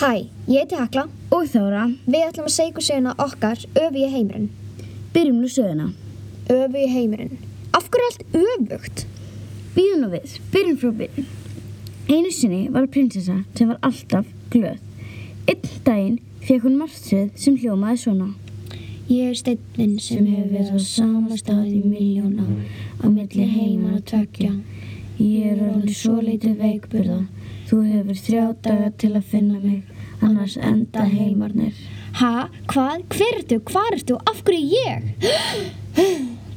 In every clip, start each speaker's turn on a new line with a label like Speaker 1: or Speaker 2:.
Speaker 1: Hæ, ég heiti Hekla.
Speaker 2: Og Þóra,
Speaker 1: Við ætlum að segja ykkur söguna okkar öfugi heimurinn.
Speaker 2: byrjum nú söguna.
Speaker 1: Öfugi heimurinn. Af hverju er allt öfugt?
Speaker 2: Býðum nú við, byrjum frá byrjum. Einu sinni var prinsessa sem var alltaf glöð. Einn daginn fekk hún martröð sem hljómaði svona.
Speaker 1: Ég er steinninn
Speaker 2: á milli
Speaker 1: heimana tveggja.
Speaker 2: Ég er alveg svo lítið veikburða. Þú hefur þrjá daga til að finna mig, annars enda heimarnir.
Speaker 1: Ha, hvað, hver ertu, hvað ertu, af hverju ég?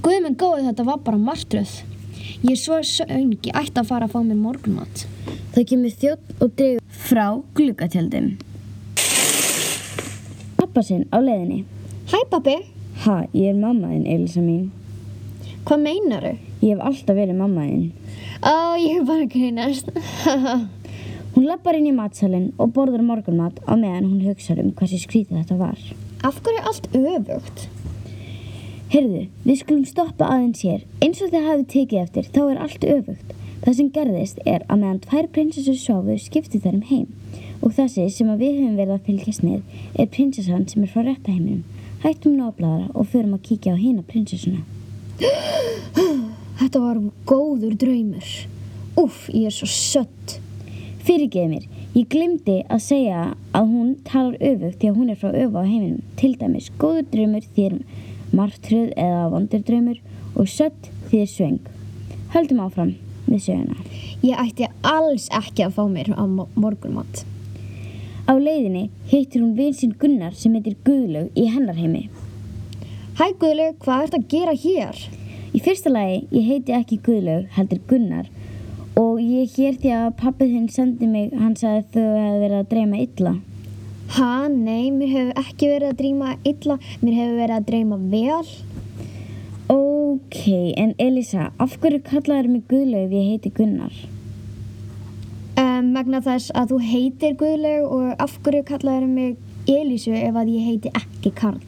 Speaker 1: Guð minn góði þetta var bara martröð. Ég er svo söng, ég ætti að fara að fá mér morgunmat.
Speaker 2: Það kemur þjótt og dregur frá gluggatjöldum. Pappa sinn á leiðinni.
Speaker 1: Hæ pabbi,
Speaker 2: Ha, ég er mamma þinn, Elisa mín.
Speaker 1: hvað meinaru?
Speaker 2: Ég hef alltaf verið mamma þinn.
Speaker 1: Ó, ég er bara að grínast.
Speaker 2: Hún lappar inn í matsalinn og borðar morgunmat á meðan hún hugsar um hversu skrítið þetta var.
Speaker 1: af hverju er allt öfugt?
Speaker 2: Heyrðu, við skulum stoppa aðeins hér. Eins og þið hafið tekið eftir, þá er allt öfugt. Það sem gerðist er að meðan tvær prinsessur sofu skipti þær um heim. Og þessi sem að við höfum verið að fylgjast með er prinsessan sem er frá réttaheiminum. Hættum nú að bladra og förum að kíkja á hina prinsessuna.
Speaker 1: Þetta var góður draumur. Úff, ég er svo sött.
Speaker 2: Fyrirgeðu mér, ég glimti að segja að hún talar öfugt því að hún er frá öfu á heiminum. Til dæmis góður draumur þér martröð eða vondur draumur og sött þér sveng. Höldum áfram með söguna.
Speaker 1: Ég ætti alls ekki að fá mér á mo- morgunmat.
Speaker 2: Á leiðinni heitir hún vin sinn Gunnar sem heitir Guðlaug í hennar heimi.
Speaker 1: Hæ Guðlaug, hvað ert að gera hér?
Speaker 2: Í fyrsta lagi, ég heiti ekki Guðlaug, heldur Gunnar og ég er hér því að pappið þinn sendi mig, hann sagði að þau hefði verið að dreyma illa.
Speaker 1: Ha, nei, mér hefur ekki verið að drýma illa, mér hefur verið að dreyma vel.
Speaker 2: Ok, en Elisa, af hverju kallaður mig Guðlaug ef ég heiti Gunnar?
Speaker 1: Um, vegna þess að þú heitir Guðlaug og af hverju kallaður mig Elísu ef að ég heiti ekki Karl.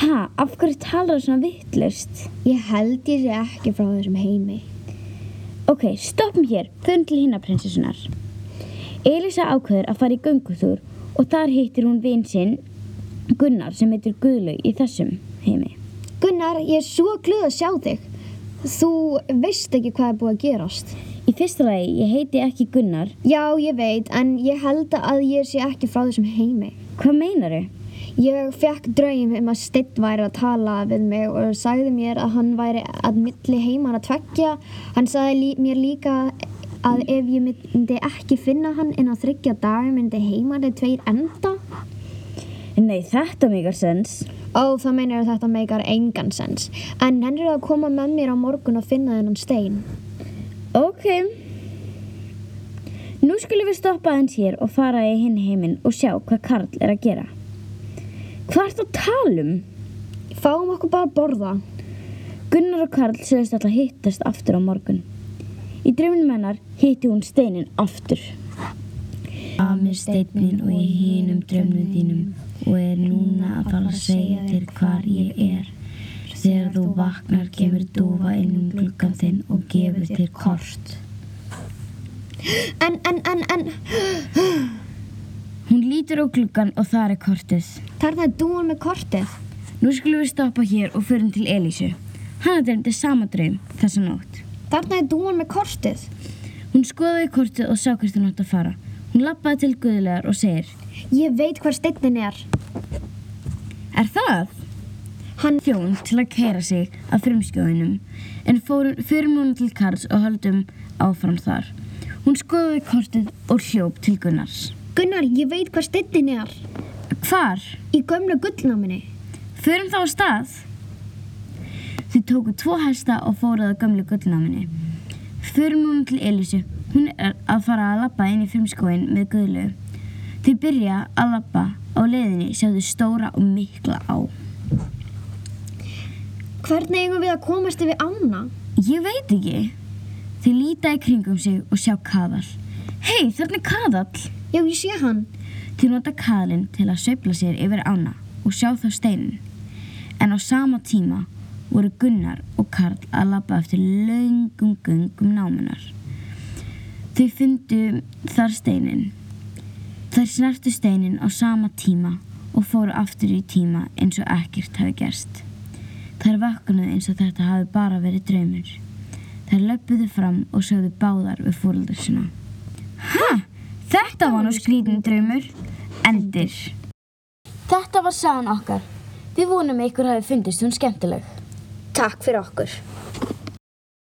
Speaker 2: Ha, af hverju talar það svona vittlust?
Speaker 1: Ég held ég sé ekki frá þessum heimi.
Speaker 2: Ok, stoppum hér, förum til hinna prinsessunar. Elisa ákveður að fara í göngutúr og þar hittir hún vin sinn Gunnar sem heitir Guðlaug í þessum heimi.
Speaker 1: Gunnar, ég er svo glöð að sjá þig. Þú veist ekki hvað er búið að gerast.
Speaker 2: Í fyrsta lagi, ég heiti ekki Gunnar.
Speaker 1: Já, ég veit, en ég held að ég sé ekki frá þessum heimi.
Speaker 2: Hvað meinaru?
Speaker 1: Ég fekk draum um að Steinn væri að tala við mig og sagði mér að hann væri að milli heimana tveggja. Hann sagði lí mér líka að ef ég myndi ekki finna hann innan þryggja dagar myndi heimana tveir enda.
Speaker 2: Nei, þetta mikar sens.
Speaker 1: Ó, það meinar að þetta meikar engan sens. En henn er að koma með mér á morgun og finna þennan Stein.
Speaker 2: Ok. Nú skulum við stoppa aðeins hér og fara í hinn heiminn og sjá hvað Karl er að gera. Hvað ertu að tala um?
Speaker 1: Fáum okkur bara að borða.
Speaker 2: Gunnar og Karl sögðust alltaf hittast aftur á morgun. Í drömmunum hennar hitti hún steinin aftur.
Speaker 3: að mér steinin og í hínum drömmum þínum og er núna að fara að segja þér hvar ég er. Þegar þú vaknar kemur dúfa inn um gluggan þinn og gefur þér kort.
Speaker 1: En, en, en, en,
Speaker 2: Hún lítur á gluggan og þar er kortið.
Speaker 1: þarna er dúan með kortið.
Speaker 2: Nú skulum við stoppa hér og förum til Elísu. Hanna drömdi sama draum þessa nótt.
Speaker 1: Þarna er dúan með kortið.
Speaker 2: Hún skoðaði kortið og sá hvert hún átt að fara. Hún lappaði til Guðlegar og segir
Speaker 1: Ég veit hvar Steinin er.
Speaker 2: Er það? Hann þjón til að kæra sig að frumskjóðinum en fórum, förum hún til Karls og höldum áfram þar. Hún skoðaði kortið og hljóp til Gunnars.
Speaker 1: Gunnar, ég veit hvað steinin er.
Speaker 2: Hvar?
Speaker 1: Í gömlu gullnáminni.
Speaker 2: Förum þá á stað? Þau tóku tvo hesta og fóruð á gömlu gullnáminni. Förum núna til Elísu. Hún er að fara að labba inn í frumskóin með Guðlaugu. Þau byrja að labba á leiðinni sjá þau stóra og mikla á.
Speaker 1: Hvernig eigum við að komast yfir ána?
Speaker 2: Ég veit ekki. Þau líta í kringum sig og sjá kaðal. Hei, þarna er kaðall.
Speaker 1: Já, ég sé hann.
Speaker 2: Þau nota kaðalinn til að söfla sér yfir ána og sjá þá steinin. En á sama tíma voru Gunnar og Karl að labba eftir löngum göngum námunar. Þau fundu þar steinin. Þær snertu steinin á sama tíma og fóru aftur í tíma eins og ekkert hafi gerst. Þær vaknuðu eins og þetta hafi bara verið draumur. Þær löpuðu fram og sögðu báðar við fóröldur sinna. Hæ? Þetta var nú skrítin draumur. Endir.
Speaker 4: Þetta var sagan okkar. Við vonum að ykkur hafi fundist hún skemmtileg.
Speaker 1: Takk fyrir okkur.